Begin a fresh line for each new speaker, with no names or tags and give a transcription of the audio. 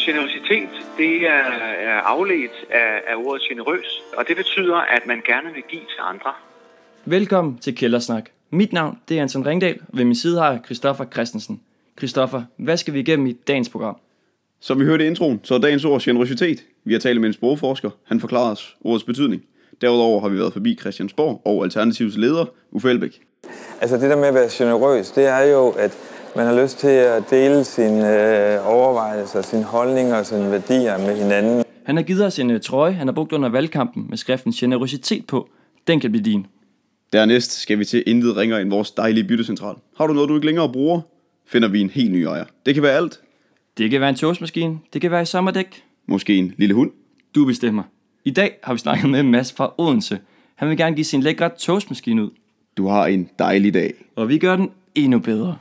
Generositet, det er, er afledt af, af ordet generøs, og det betyder, at man gerne vil give til andre.
Velkommen til Kældersnak. Mit navn det er Anton Ringdal, og ved min side har jeg Christoffer Christensen. Christoffer, hvad skal vi igennem i dagens program?
Som vi hørte i introen, så er dagens ord generositet. Vi har talt med en sprogforsker. Han forklarer os ordets betydning. Derudover har vi været forbi Christiansborg og Alternativs leder, Uffe Elbæk.
Altså det der med at være generøs, det er jo, at man har lyst til at dele sine øh, overvejelser, sine holdninger og sine værdier med hinanden.
Han har givet os en øh, trøje, han har brugt under valgkampen med skriften generøsitet på. Den kan blive din.
Dernæst skal vi til intet ringer end vores dejlige byttecentral. Har du noget, du ikke længere bruger? Finder vi en helt ny ejer. Det kan være alt.
Det kan være en toastmaskine, det kan være et sommerdæk.
Måske en lille hund.
Du bestemmer. I dag har vi snakket med Mads fra Odense. Han vil gerne give sin lækre toastmaskine ud,
Du har en dejlig dag.
og vi gør den endnu bedre.